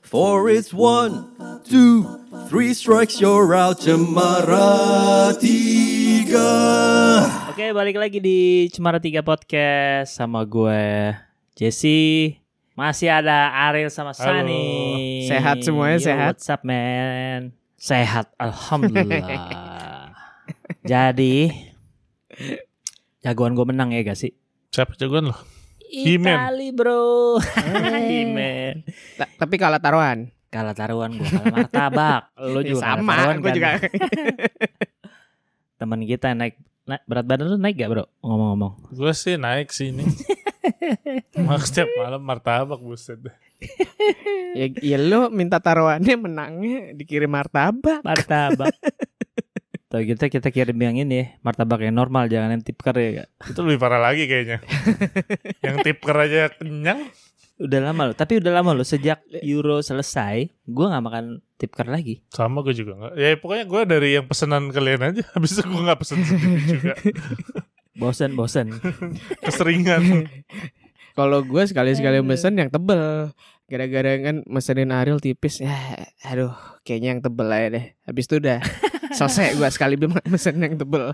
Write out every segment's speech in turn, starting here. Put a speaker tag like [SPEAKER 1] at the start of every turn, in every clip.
[SPEAKER 1] For it's one, two, three strikes you're out Cemara tiga
[SPEAKER 2] Oke, balik lagi di Cemara 3 Podcast sama gue Jesse. Masih ada Ariel sama
[SPEAKER 3] Halo.
[SPEAKER 2] Sunny.
[SPEAKER 4] Sehat semuanya, sehat?
[SPEAKER 2] What's up, man? Sehat, alhamdulillah. Jadi jagoan gue menang ya gak sih?
[SPEAKER 3] Siapa jagoan lo? He-Man.
[SPEAKER 2] Itali, bro. Himen.
[SPEAKER 4] Ta- tapi kalah taruhan.
[SPEAKER 2] Kalah taruhan gue, kalah martabak. Lu
[SPEAKER 4] Ya,
[SPEAKER 2] juga kalah
[SPEAKER 4] sama,
[SPEAKER 2] taruhan
[SPEAKER 4] gue
[SPEAKER 2] kan?
[SPEAKER 4] juga.
[SPEAKER 2] Temen kita naik, naik berat badan lu naik gak, bro? Ngomong-ngomong.
[SPEAKER 3] Gue sih naik sini. Mak setiap malam martabak buset. deh.
[SPEAKER 4] ya, ya lu minta taruhannya menangnya dikirim martabak.
[SPEAKER 2] martabak. Tuh kita kita kirim yang ini ya, martabak yang normal jangan yang tipker ya Kak.
[SPEAKER 3] Itu lebih parah lagi kayaknya. Yang tipker aja kenyang.
[SPEAKER 2] Udah lama loh, tapi udah lama loh sejak Euro selesai, gua nggak makan tipker lagi.
[SPEAKER 3] Sama gue juga nggak. Ya pokoknya gue dari yang pesanan kalian aja. Habis itu gue nggak pesen sendiri juga.
[SPEAKER 2] Bosen bosen.
[SPEAKER 3] Keseringan.
[SPEAKER 4] Kalau gue sekali-sekali mesen yang tebel. Gara-gara kan mesenin Ariel tipis. Ya, aduh, kayaknya yang tebel aja deh. Habis itu udah selesai gue sekali bem- mesen yang tebel.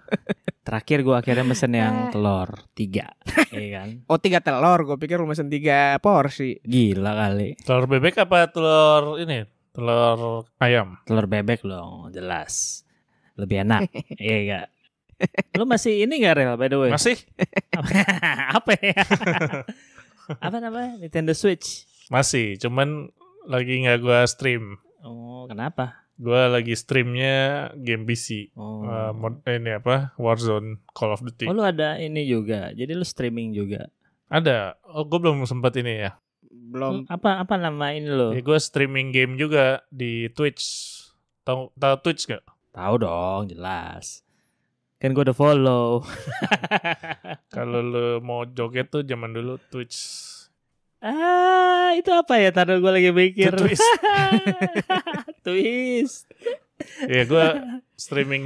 [SPEAKER 2] Terakhir gua akhirnya mesen yang telur tiga, iya kan?
[SPEAKER 4] Oh tiga telur, gue pikir lu mesen tiga porsi.
[SPEAKER 2] Gila kali.
[SPEAKER 3] telur bebek apa telur ini? Telur ayam.
[SPEAKER 2] Telur bebek dong, jelas. Lebih enak, iya gak? Lu masih ini gak rel by the way?
[SPEAKER 3] Masih?
[SPEAKER 2] Apa ya? Apa namanya? Nintendo Switch.
[SPEAKER 3] Masih. Cuman lagi nggak gue stream.
[SPEAKER 2] Oh, kenapa?
[SPEAKER 3] Gue lagi streamnya game PC.
[SPEAKER 2] Oh.
[SPEAKER 3] Eh, mod- ini apa? Warzone Call of Duty.
[SPEAKER 2] Oh lu ada ini juga, jadi lu streaming juga.
[SPEAKER 3] Ada. Oh, gue belum sempat ini ya.
[SPEAKER 4] Belum
[SPEAKER 2] Apa apa nama ini lo?
[SPEAKER 3] Ya, gue streaming game juga di Twitch. Tahu tahu Twitch gak?
[SPEAKER 2] Tahu dong, jelas. Kan gua udah follow.
[SPEAKER 3] Kalau lu mau joget tuh zaman dulu Twitch.
[SPEAKER 2] Ah, itu apa ya? Taruh gua lagi mikir.
[SPEAKER 3] Itu twist.
[SPEAKER 2] Twist.
[SPEAKER 3] Ya gue streaming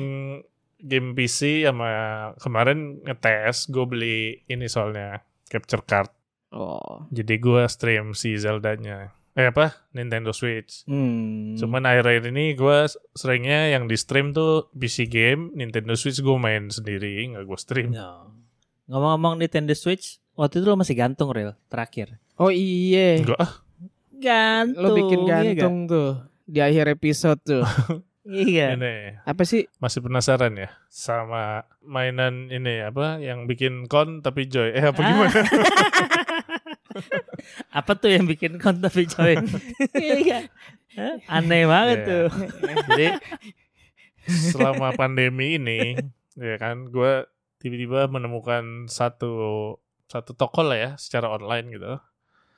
[SPEAKER 3] game PC sama kemarin ngetes gue beli ini soalnya capture card.
[SPEAKER 4] Oh
[SPEAKER 3] Jadi gue stream si Zelda-nya. Eh apa? Nintendo Switch.
[SPEAKER 2] Hmm.
[SPEAKER 3] Cuman akhir-akhir ini gue seringnya yang di stream tuh PC game, Nintendo Switch gue main sendiri, nggak gue stream.
[SPEAKER 2] No. Ya. Ngomong-ngomong Nintendo Switch, waktu itu lo masih gantung rel terakhir.
[SPEAKER 4] Oh iya
[SPEAKER 3] Enggak, ah,
[SPEAKER 2] Gantung.
[SPEAKER 4] Lu bikin
[SPEAKER 2] iya
[SPEAKER 4] gantung tuh Di akhir episode tuh
[SPEAKER 2] nggak? Iya.
[SPEAKER 3] ini
[SPEAKER 4] Apa sih
[SPEAKER 3] masih penasaran ya sama mainan ini apa yang bikin kon tapi joy eh apa
[SPEAKER 2] Ah.
[SPEAKER 3] gimana
[SPEAKER 2] Apa tuh yang bikin konten tapi coy? Iya. Hah? Aneh banget
[SPEAKER 3] Iya.
[SPEAKER 2] tuh.
[SPEAKER 3] jadi selama pandemi ini ya kan gue tiba-tiba menemukan satu satu toko lah ya secara online gitu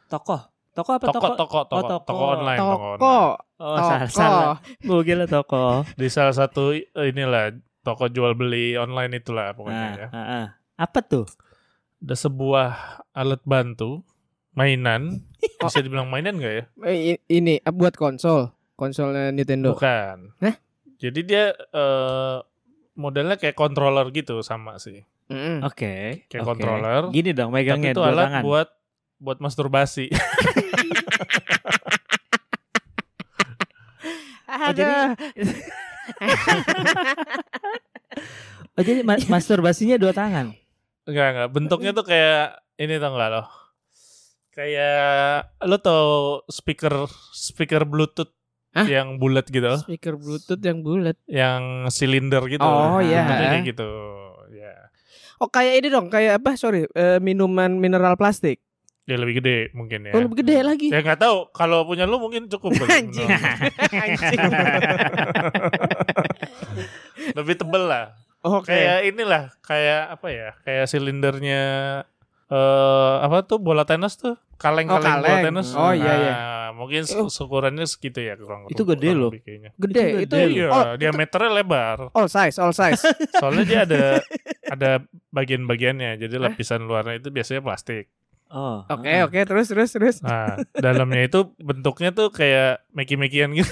[SPEAKER 2] Tokoh. Tokoh apa
[SPEAKER 3] toko
[SPEAKER 2] toko?
[SPEAKER 3] toko toko
[SPEAKER 2] oh,
[SPEAKER 3] toko,
[SPEAKER 2] toko.
[SPEAKER 3] online toko online.
[SPEAKER 4] Toko
[SPEAKER 2] Oh, salah, salah. Gua gila toko.
[SPEAKER 3] di salah satu eh, inilah toko jual beli online itulah pokoknya
[SPEAKER 2] Nah,
[SPEAKER 3] ya
[SPEAKER 2] ah, ah. Apa tuh?
[SPEAKER 3] ada sebuah alat bantu mainan bisa dibilang mainan gak ya
[SPEAKER 4] Eh, i- Ini eh, buat konsol Konsolnya Nintendo
[SPEAKER 3] Bukan.
[SPEAKER 4] Hah?
[SPEAKER 3] Jadi dia eh, modelnya kayak controller gitu sama sih. Oh,
[SPEAKER 4] Mm-mm.
[SPEAKER 2] Oke.
[SPEAKER 3] Kayak
[SPEAKER 2] oke.
[SPEAKER 3] controller.
[SPEAKER 2] Gini dong
[SPEAKER 3] Tapi
[SPEAKER 2] megangnya
[SPEAKER 3] itu
[SPEAKER 2] dua
[SPEAKER 3] alat
[SPEAKER 2] tangan.
[SPEAKER 3] buat buat masturbasi.
[SPEAKER 2] Oh, jadi- Oh, jadi ma- masturbasinya dua tangan.
[SPEAKER 3] enggak enggak. Bentuknya tuh kayak ini tau enggak loh. Kayak lo tau speaker speaker Bluetooth
[SPEAKER 4] Hah?
[SPEAKER 3] yang bulat gitu,
[SPEAKER 4] Speaker Bluetooth yang bulat.
[SPEAKER 3] yang silinder gitu.
[SPEAKER 4] Oh, iya.
[SPEAKER 3] Bentuknya kayak gitu. Ya.
[SPEAKER 4] Oh kayak ini dong, kayak apa? Sorry, eh, minuman mineral plastik.
[SPEAKER 3] Dia lebih gede mungkin ya.
[SPEAKER 4] Oh lebih gede lagi.
[SPEAKER 3] Ya nggak tahu. Kalau punya lu mungkin cukup. kali,
[SPEAKER 4] Anjing.
[SPEAKER 3] menurut gua.
[SPEAKER 4] Anjing.
[SPEAKER 3] lebih tebel lah.
[SPEAKER 4] Oke.
[SPEAKER 3] kayak inilah kayak apa ya kayak silindernya eh apa tuh bola tenis tuh kaleng-kaleng
[SPEAKER 4] Oh, kaleng.
[SPEAKER 3] bola tenis
[SPEAKER 4] Oh, iya, iya.
[SPEAKER 3] Nah, mungkin se-
[SPEAKER 4] Oh. ukurannya
[SPEAKER 3] ukurannya segitu ya kurang
[SPEAKER 2] Itu gede
[SPEAKER 3] kurang
[SPEAKER 2] loh.
[SPEAKER 3] lebih kayaknya
[SPEAKER 4] Gede Oh,
[SPEAKER 2] Itu
[SPEAKER 4] itu.
[SPEAKER 2] gede
[SPEAKER 3] iya
[SPEAKER 4] all,
[SPEAKER 3] diameternya lebar
[SPEAKER 4] all size, all size.
[SPEAKER 3] soalnya dia ada ada bagian-bagiannya
[SPEAKER 4] Eh?
[SPEAKER 3] jadi lapisan luarnya itu biasanya plastik
[SPEAKER 2] Oh.
[SPEAKER 4] Oke,
[SPEAKER 2] ah.
[SPEAKER 4] oke, terus terus terus.
[SPEAKER 3] nah dalamnya itu bentuknya tuh kayak meki-mekian gitu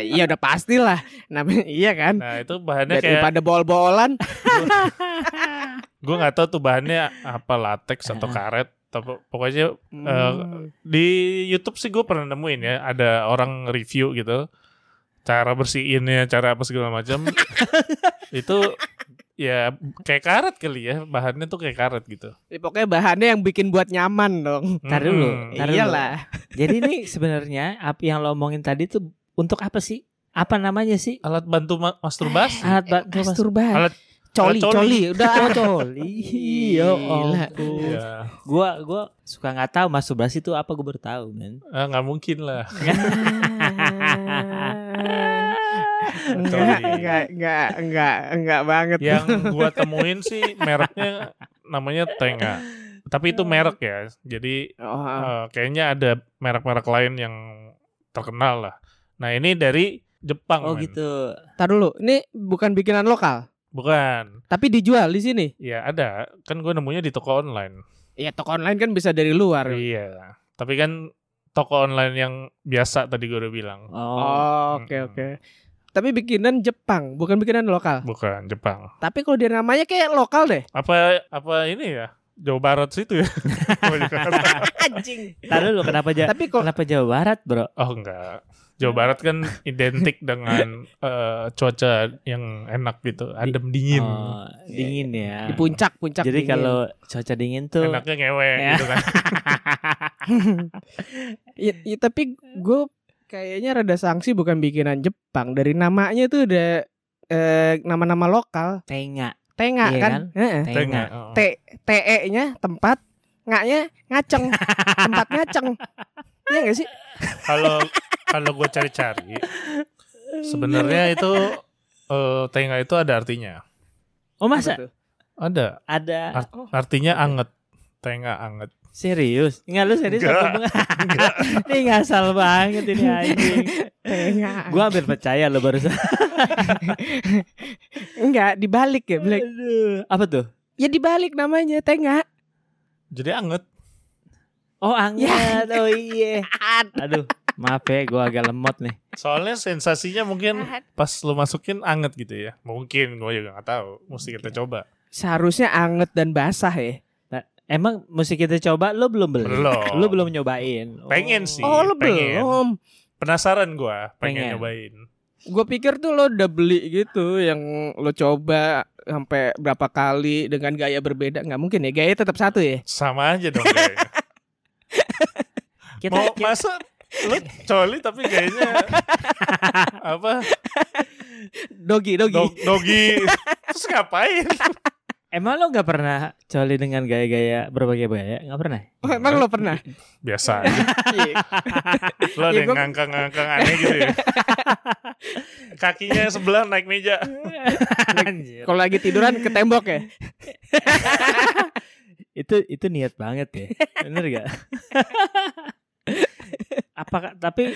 [SPEAKER 4] iya udah pastilah. Namanya iya kan?
[SPEAKER 3] nah itu bahannya kayak Eh,
[SPEAKER 4] Daripada bol-bolan. Eh.
[SPEAKER 3] gue nggak tahu tuh bahannya apa latex atau karet Tapi pokoknya eh,
[SPEAKER 4] Hmm.
[SPEAKER 3] di YouTube sih gue pernah nemuin ya ada orang review gitu cara bersihinnya cara apa segala macam itu ya kayak karet kali ya bahannya tuh kayak karet gitu.
[SPEAKER 4] Ya, pokoknya bahannya yang bikin buat nyaman dong.
[SPEAKER 2] Ntar dulu.
[SPEAKER 3] Mm.
[SPEAKER 2] Ntar dulu.
[SPEAKER 4] Iyalah.
[SPEAKER 2] Jadi ini sebenarnya apa yang lo omongin tadi tuh untuk apa sih? Apa namanya sih?
[SPEAKER 3] alat bantu ma- masturbasi.
[SPEAKER 2] Alat ba-
[SPEAKER 4] Masturbasi.
[SPEAKER 3] Alat-
[SPEAKER 4] coli,
[SPEAKER 3] alat
[SPEAKER 4] coli. Udah.
[SPEAKER 2] Oh, coli. Ya
[SPEAKER 4] Gila.
[SPEAKER 2] ampun.
[SPEAKER 3] Ya,
[SPEAKER 2] Gua gua suka nggak tahu masturbasi itu apa gue baru tahu, men.
[SPEAKER 3] ah, nggak mungkin lah.
[SPEAKER 4] Enggak, enggak, enggak, enggak, enggak banget.
[SPEAKER 3] Yang gua temuin sih mereknya namanya Tenga. Tapi
[SPEAKER 2] Hmm.
[SPEAKER 3] itu merek ya. Jadi
[SPEAKER 2] Ah.
[SPEAKER 4] Oh,
[SPEAKER 3] eh, kayaknya ada merek-merek lain yang terkenal lah. Nah, ini dari Jepang.
[SPEAKER 2] Oh
[SPEAKER 3] men.
[SPEAKER 2] gitu.
[SPEAKER 4] tar dulu. Ini bukan bikinan lokal,
[SPEAKER 3] Bukan.
[SPEAKER 4] tapi dijual di sini.
[SPEAKER 3] Ya ada. Kan gue nemunya di toko online.
[SPEAKER 4] Ya toko online kan bisa dari luar.
[SPEAKER 3] Iya. Tapi kan toko online yang biasa tadi gue udah bilang.
[SPEAKER 2] Oh.
[SPEAKER 4] Oh, oke oke. Tapi bikinan Jepang, bukan bikinan lokal.
[SPEAKER 3] Bukan Jepang.
[SPEAKER 4] Tapi kalau dia namanya kayak lokal deh.
[SPEAKER 3] Apa apa ini ya? Jawa Barat situ ya. Gua juga nggak tahu.
[SPEAKER 4] Anjing.
[SPEAKER 2] Tahu dulu kenapa ja
[SPEAKER 4] Tapi kok
[SPEAKER 2] kenapa Jawa Barat, Bro?
[SPEAKER 3] Oh enggak. Jawa Barat kan identik dengan eh, cuaca yang enak gitu, adem dingin.
[SPEAKER 2] Oh, dingin ya.
[SPEAKER 4] Iya. di puncak puncak.
[SPEAKER 2] Jadi
[SPEAKER 4] dingin.
[SPEAKER 2] kalau cuaca dingin tuh
[SPEAKER 3] Enaknya ngewe
[SPEAKER 2] Ya.
[SPEAKER 3] gitu kan.
[SPEAKER 4] Ya, ya, tapi gue kayaknya rada sanksi bukan bikinan Jepang. Dari namanya tuh udah eh, nama-nama lokal.
[SPEAKER 2] tenga,
[SPEAKER 4] Tenga
[SPEAKER 2] Iya
[SPEAKER 4] kan?
[SPEAKER 2] kan?
[SPEAKER 4] Heeh.
[SPEAKER 2] tenga.
[SPEAKER 3] Oh.
[SPEAKER 4] T TE-nya tempat, ngaknya ngaceng, tempat ngaceng. Iya gak sih?
[SPEAKER 3] Kalau kalau gue cari-cari sebenarnya itu eh, tengah itu ada artinya.
[SPEAKER 2] Oh, masa
[SPEAKER 4] Apa tuh?
[SPEAKER 3] Ada.
[SPEAKER 2] ada
[SPEAKER 3] Ar- artinya anget. Tengah anget.
[SPEAKER 2] serius? Enggak lu serius apa
[SPEAKER 3] Enggak.
[SPEAKER 2] enggak? ini ngasal banget ini anjing.
[SPEAKER 4] Tenga.
[SPEAKER 2] Gua hampir percaya lo barusan.
[SPEAKER 4] Enggak, dibalik ya, Black.
[SPEAKER 2] Aduh, apa tuh?
[SPEAKER 4] Ya dibalik namanya, Tenga.
[SPEAKER 3] Jadi anget.
[SPEAKER 2] Oh,
[SPEAKER 4] Ya.
[SPEAKER 2] anget. Oh iya. Aduh, maaf ya gua agak lemot nih.
[SPEAKER 3] Soalnya sensasinya mungkin pas lu masukin anget gitu ya. Mungkin gue juga nggak tahu. Mesti kita coba.
[SPEAKER 4] Seharusnya anget dan basah ya.
[SPEAKER 2] Emang musik kita coba lo belum beli?
[SPEAKER 3] Belum.
[SPEAKER 2] Lo belum nyobain.
[SPEAKER 3] Pengen sih.
[SPEAKER 4] Oh, lo
[SPEAKER 3] Iya, pengen.
[SPEAKER 4] belum.
[SPEAKER 3] Penasaran gue, pengen,
[SPEAKER 2] Pengen.
[SPEAKER 3] nyobain.
[SPEAKER 4] Gue pikir tuh lo udah beli gitu yang lo coba sampai berapa kali dengan gaya berbeda nggak mungkin ya gaya tetap satu ya
[SPEAKER 3] Sama aja dong kayaknya.
[SPEAKER 2] Kita,
[SPEAKER 3] Mau
[SPEAKER 2] kita-
[SPEAKER 3] masa lu coli tapi kayaknya apa
[SPEAKER 4] dogi dogi
[SPEAKER 3] dog, dogi terus ngapain?
[SPEAKER 2] emang lo nggak pernah coli dengan gaya-gaya berbagai gaya? Nggak pernah?
[SPEAKER 3] Iya.
[SPEAKER 4] Oh, emang lo pernah
[SPEAKER 3] Biasa. aja.
[SPEAKER 4] Iya.
[SPEAKER 3] Lo ada
[SPEAKER 4] Ya,
[SPEAKER 3] yang
[SPEAKER 4] gua-
[SPEAKER 3] ngangkang-ngangkang aneh gitu ya. Kakinya sebelah naik meja. Iya.
[SPEAKER 2] Anjir.
[SPEAKER 4] kalau lagi tiduran ke tembok ya
[SPEAKER 2] itu itu niat banget ya, bener gak? apakah tapi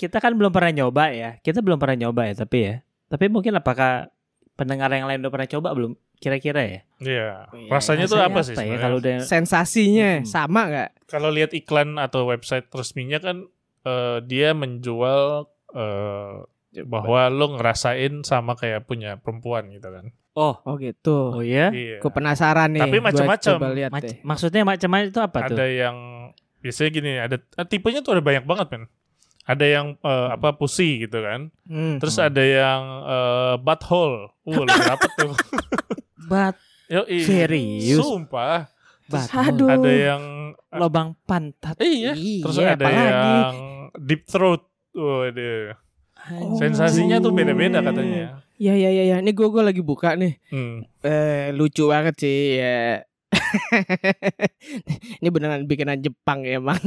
[SPEAKER 2] kita kan belum pernah nyoba ya? Kita belum pernah nyoba ya tapi ya. Tapi mungkin apakah pendengar yang lain udah pernah coba belum? Kira-kira ya.
[SPEAKER 3] Iya.
[SPEAKER 4] Iya,
[SPEAKER 3] Rasanya tuh apa sih
[SPEAKER 2] ya
[SPEAKER 3] sebenarnya?
[SPEAKER 2] kalau udah
[SPEAKER 4] sensasinya
[SPEAKER 2] Hmm.
[SPEAKER 4] sama nggak
[SPEAKER 3] Kalau lihat iklan atau website resminya kan eh, dia menjual eh, bahwa lo ngerasain sama kayak punya perempuan gitu kan.
[SPEAKER 2] oh
[SPEAKER 4] oh gitu
[SPEAKER 2] oh ya
[SPEAKER 3] Iya.
[SPEAKER 4] Gue penasaran nih.
[SPEAKER 3] Tapi
[SPEAKER 4] gua
[SPEAKER 3] macem-macem.
[SPEAKER 4] Coba lihat
[SPEAKER 2] Mac-
[SPEAKER 4] deh.
[SPEAKER 2] maksudnya macam-macam itu apa tuh?
[SPEAKER 3] Iya, ada yang biasanya gini ada eh, tipenya tuh ada banyak banget men ada yang eh, apa pussy gitu kan
[SPEAKER 4] Hmm.
[SPEAKER 3] terus
[SPEAKER 2] Hmm.
[SPEAKER 3] ada yang eh, butthole uh lebih dapet tuh
[SPEAKER 2] Bat
[SPEAKER 3] Yo,
[SPEAKER 2] Serius?
[SPEAKER 3] sumpah
[SPEAKER 2] bat
[SPEAKER 4] Aduh.
[SPEAKER 3] ada yang eh,
[SPEAKER 2] lubang pantat.
[SPEAKER 3] iya terus ada
[SPEAKER 2] apalagi.
[SPEAKER 3] yang deep throat Waduh.
[SPEAKER 2] Anjing.
[SPEAKER 3] sensasinya tuh beda-beda katanya
[SPEAKER 4] Ya ya ya ya. Ini gue gue lagi buka nih.
[SPEAKER 3] hmm.
[SPEAKER 4] Eh lucu banget sih. Ya. ini beneran bikinan Jepang ya emang.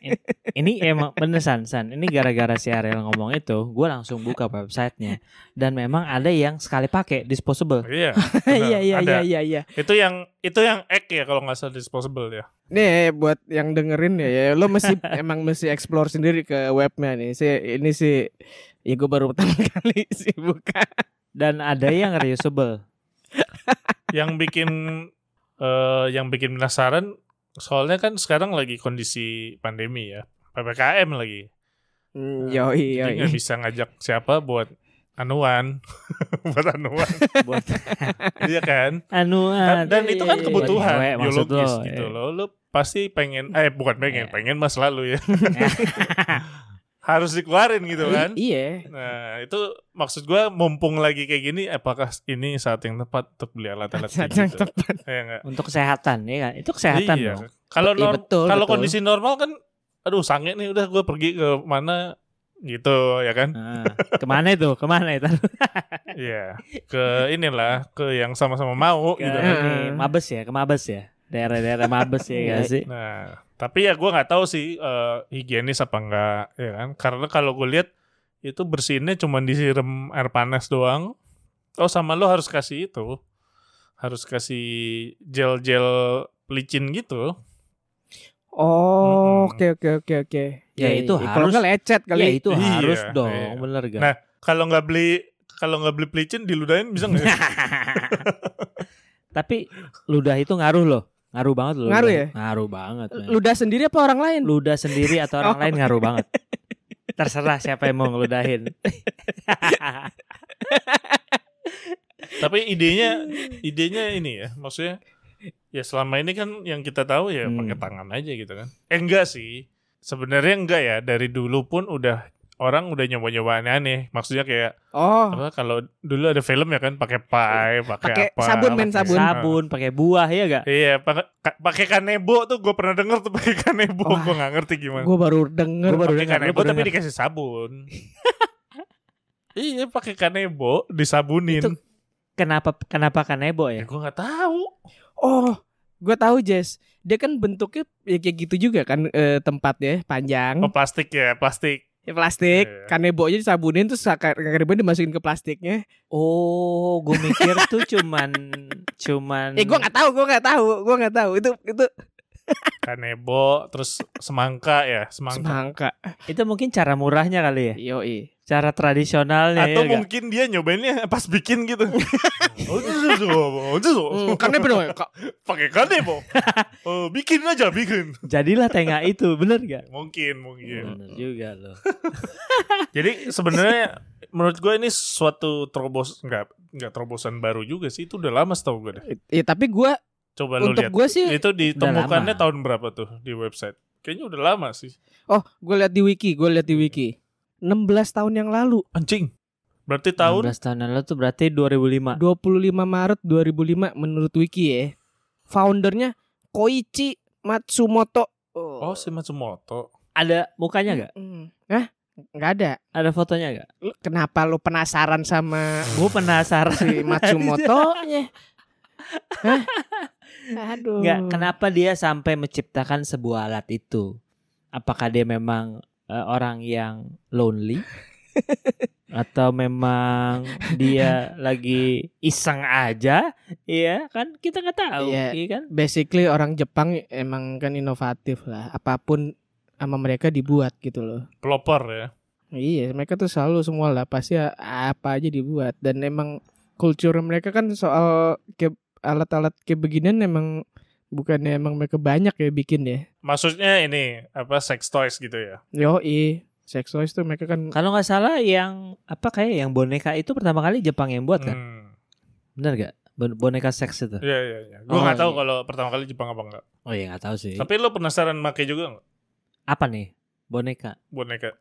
[SPEAKER 2] Ini emang bener San, San. Ini gara-gara si Ariel ngomong itu, gue langsung buka websitenya dan memang ada yang sekali pakai disposable.
[SPEAKER 3] iya benar.
[SPEAKER 4] Iya iya
[SPEAKER 3] Ada.
[SPEAKER 4] iya iya. iya.
[SPEAKER 3] itu yang itu yang egg ya kalau nggak salah disposable ya
[SPEAKER 4] Nih buat yang dengerin ya, ya lo mesti emang mesti explore sendiri ke webnya nih. Si, ini sih ya gue baru pertama kali sih buka.
[SPEAKER 2] Dan ada yang reusable.
[SPEAKER 3] yang bikin eh yang bikin penasaran soalnya kan sekarang lagi kondisi pandemi ya ppkm lagi
[SPEAKER 4] Hmm,
[SPEAKER 3] jadi
[SPEAKER 4] yoi yoi. iya.
[SPEAKER 3] nggak bisa ngajak siapa buat anuan buat anuan
[SPEAKER 2] buat iya,
[SPEAKER 3] iya kan
[SPEAKER 2] anuan.
[SPEAKER 3] dan, dan itu kan kebutuhan
[SPEAKER 2] Cewek, maksud
[SPEAKER 3] biologis
[SPEAKER 2] lo. iya.
[SPEAKER 3] gitu loh lu pasti pengen eh bukan pengen pengen mas lalu ya harus dikeluarin gitu kan
[SPEAKER 4] I- iya.
[SPEAKER 3] nah itu maksud gua mumpung lagi kayak gini apakah ini saat yang tepat untuk beli alat-alat kayak
[SPEAKER 4] Saat yang
[SPEAKER 3] gitu Iya nggak?
[SPEAKER 2] Untuk kesehatan ya kan? Itu kesehatan
[SPEAKER 3] Iya.
[SPEAKER 2] dong.
[SPEAKER 3] kalau
[SPEAKER 4] Iya,
[SPEAKER 3] norm-
[SPEAKER 4] betul,
[SPEAKER 3] kalau
[SPEAKER 4] betul.
[SPEAKER 3] kondisi normal kan aduh sange nih udah gua pergi ke mana gitu ya kan
[SPEAKER 2] Nah, kemana itu? Kemana itu?
[SPEAKER 3] Iya ke inilah ke yang sama-sama mau
[SPEAKER 2] Ke
[SPEAKER 3] gitu
[SPEAKER 4] Iya.
[SPEAKER 3] kan.
[SPEAKER 2] ini, Mabes ya, ke Mabes ya. Daerah-daerah Mabes ya gak sih?
[SPEAKER 3] Nah, tapi ya gua nggak tahu sih eh, higienis apa enggak, ya kan? Karena kalau gue lihat itu bersihinnya cuma disiram air panas doang. Oh, sama lo harus kasih itu, harus kasih gel-gel licin gitu.
[SPEAKER 4] Oh,
[SPEAKER 3] Mm-mm.
[SPEAKER 4] oke oke oke oke. Iya,
[SPEAKER 2] Ya, itu
[SPEAKER 4] Kalau
[SPEAKER 2] harus-
[SPEAKER 4] nggak lecet
[SPEAKER 2] Ya
[SPEAKER 4] kali.
[SPEAKER 2] itu
[SPEAKER 3] Iya,
[SPEAKER 2] harus
[SPEAKER 3] iya.
[SPEAKER 2] dong, bener gak?
[SPEAKER 3] Nah, Kalau nggak beli kalau nggak beli pelicin diludahin bisa nggak?
[SPEAKER 2] Tapi ludah itu ngaruh loh. Ngaruh banget loh.
[SPEAKER 4] Ngaruh
[SPEAKER 2] ludah.
[SPEAKER 4] ya?
[SPEAKER 2] Ngaruh banget. men.
[SPEAKER 4] Ludah sendiri apa orang lain?
[SPEAKER 2] Ludah sendiri atau orang
[SPEAKER 4] Oh.
[SPEAKER 2] lain ngaruh banget. Terserah siapa yang mau ngeludahin.
[SPEAKER 3] tapi idenya idenya ini ya, maksudnya ya selama ini kan yang kita tahu ya
[SPEAKER 2] Hmm.
[SPEAKER 3] pakai tangan aja gitu kan. Eh enggak sih. Sebenarnya enggak ya, dari dulu pun udah orang udah nyoba-nyoba aneh-aneh. Maksudnya kayak
[SPEAKER 4] Oh,
[SPEAKER 3] apa kalau dulu ada film ya kan pakai pai pakai
[SPEAKER 4] Pakai
[SPEAKER 3] apa
[SPEAKER 4] sabun, men,
[SPEAKER 3] pakai-
[SPEAKER 4] sabun.
[SPEAKER 2] Sabun, pakai buah ya gak?
[SPEAKER 3] iya pakai ka- pakai kanebo tuh gue pernah denger tuh pakai kanebo
[SPEAKER 4] Wah.
[SPEAKER 3] gue nggak ngerti gimana
[SPEAKER 4] gue baru denger.
[SPEAKER 2] Gua baru
[SPEAKER 3] pakai
[SPEAKER 2] dengar,
[SPEAKER 3] kanebo
[SPEAKER 2] gua baru
[SPEAKER 3] tapi dikasih sabun iya pakai kanebo disabunin
[SPEAKER 2] Itu Kenapa kenapa kanebo
[SPEAKER 3] ya,
[SPEAKER 2] ya?
[SPEAKER 3] gue nggak tahu
[SPEAKER 4] Oh, gue tahu Jess. Dia kan bentuknya ya kayak gitu juga kan eh, tempatnya panjang,
[SPEAKER 3] oh, plastik ya plastik
[SPEAKER 4] ya plastik.
[SPEAKER 3] Iya.
[SPEAKER 4] Kanebonya disabunin terus kar- kanebo dimasukin ke plastiknya.
[SPEAKER 2] Oh, gue mikir tuh cuman
[SPEAKER 3] Hmm.
[SPEAKER 2] cuman
[SPEAKER 4] Eh, gue nggak tahu, gue nggak tahu, gue nggak tahu. Itu itu
[SPEAKER 3] kanebo terus semangka ya semangka
[SPEAKER 4] semangka.
[SPEAKER 2] itu mungkin cara murahnya kali ya.
[SPEAKER 4] Yoi.
[SPEAKER 2] Cara tradisionalnya ya
[SPEAKER 3] atau
[SPEAKER 2] nggak?
[SPEAKER 3] mungkin dia nyobainnya pas bikin gitu iya, oh itu tuh, oh, itu tuh.
[SPEAKER 4] Hmm, kanebo dong. ya, Kak.
[SPEAKER 3] pakai kanebo oh, bikin aja bikin Hmm.
[SPEAKER 2] Jadilah tengah itu, bener gak?
[SPEAKER 3] mungkin mungkin
[SPEAKER 2] Bener juga loh.
[SPEAKER 3] Jadi sebenarnya menurut gue ini suatu terobos nggak nggak terobosan baru juga sih itu udah lama setahu gue deh.
[SPEAKER 4] Ya, tapi gue
[SPEAKER 3] Coba lu
[SPEAKER 4] untuk
[SPEAKER 3] lihat.
[SPEAKER 4] gue sih
[SPEAKER 3] Itu
[SPEAKER 2] Udah
[SPEAKER 3] ditemukannya
[SPEAKER 2] lama.
[SPEAKER 3] tahun berapa tuh di website? Kayaknya udah lama sih.
[SPEAKER 4] Oh, gue lihat di wiki, gue lihat di
[SPEAKER 3] Hmm.
[SPEAKER 4] wiki. 16 tahun yang lalu,
[SPEAKER 3] Anjing. Berarti tahun
[SPEAKER 2] 16 tahun lalu tuh berarti 2005.
[SPEAKER 4] 25 Maret 2005 menurut wiki ya. Foundernya Koichi Matsumoto.
[SPEAKER 3] Oh, si Matsumoto.
[SPEAKER 2] Ada mukanya nggak?
[SPEAKER 4] Mm. Hah? Nggak ada.
[SPEAKER 2] Ada fotonya nggak?
[SPEAKER 4] Lu- kenapa lu penasaran sama
[SPEAKER 2] Gue penasaran
[SPEAKER 4] si
[SPEAKER 3] Iya.
[SPEAKER 4] Matsumoto-nya? Hah? Aduh.
[SPEAKER 2] nggak kenapa dia sampai menciptakan sebuah alat itu? Apakah dia memang eh, orang yang lonely? Atau memang dia lagi iseng aja, iya kan kita nggak tahu,
[SPEAKER 4] Iya.
[SPEAKER 2] iya kan?
[SPEAKER 4] Basically orang Jepang emang kan inovatif lah. Apapun sama mereka dibuat gitu loh.
[SPEAKER 3] Pelopor ya.
[SPEAKER 4] Iya, mereka tuh selalu semua lah pasti a- apa aja dibuat dan emang kultur mereka kan soal ke alat-alat kayak beginian emang bukannya emang mereka banyak ya bikin ya.
[SPEAKER 3] Maksudnya ini apa sex toys gitu ya.
[SPEAKER 4] Yoi, sex toys tuh mereka kan
[SPEAKER 2] Kalau nggak salah yang apa kayak yang boneka itu pertama kali Jepang yang buat kan?
[SPEAKER 3] Hmm.
[SPEAKER 2] Bener gak? Bon- boneka seks itu?
[SPEAKER 3] Iya iya iya. Gua
[SPEAKER 2] Oh,
[SPEAKER 3] nggak tahu
[SPEAKER 2] iya.
[SPEAKER 3] kalau pertama kali Jepang apa enggak.
[SPEAKER 2] Oh iya nggak tahu sih.
[SPEAKER 3] Tapi lu penasaran make juga enggak
[SPEAKER 2] Apa nih boneka?
[SPEAKER 3] boneka?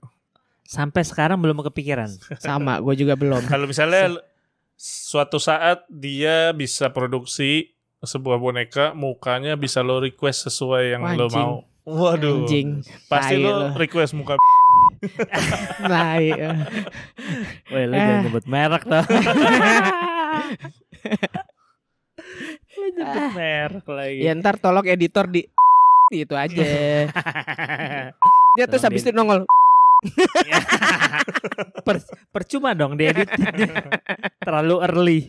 [SPEAKER 2] Sampai sekarang belum kepikiran.
[SPEAKER 4] sama, gue juga belum.
[SPEAKER 3] Kalau
[SPEAKER 4] Iya.
[SPEAKER 3] misalnya l- suatu saat dia bisa produksi sebuah boneka, mukanya bisa lo request sesuai yang lo
[SPEAKER 4] Anjing.
[SPEAKER 3] mau. Waduh.
[SPEAKER 4] Anjing.
[SPEAKER 3] Pasti
[SPEAKER 4] Tai
[SPEAKER 3] lo request muka
[SPEAKER 4] Tai, eh.
[SPEAKER 2] Weh lu jangan
[SPEAKER 4] Eh.
[SPEAKER 2] nyebut merek tuh. lu nyebut merek lagi.
[SPEAKER 4] Ya ntar tolong editor di gitu aja. Ya terus
[SPEAKER 2] Tolong
[SPEAKER 4] habis
[SPEAKER 2] di-
[SPEAKER 4] itu nongol.
[SPEAKER 2] Per- percuma dong diedit. Terlalu early.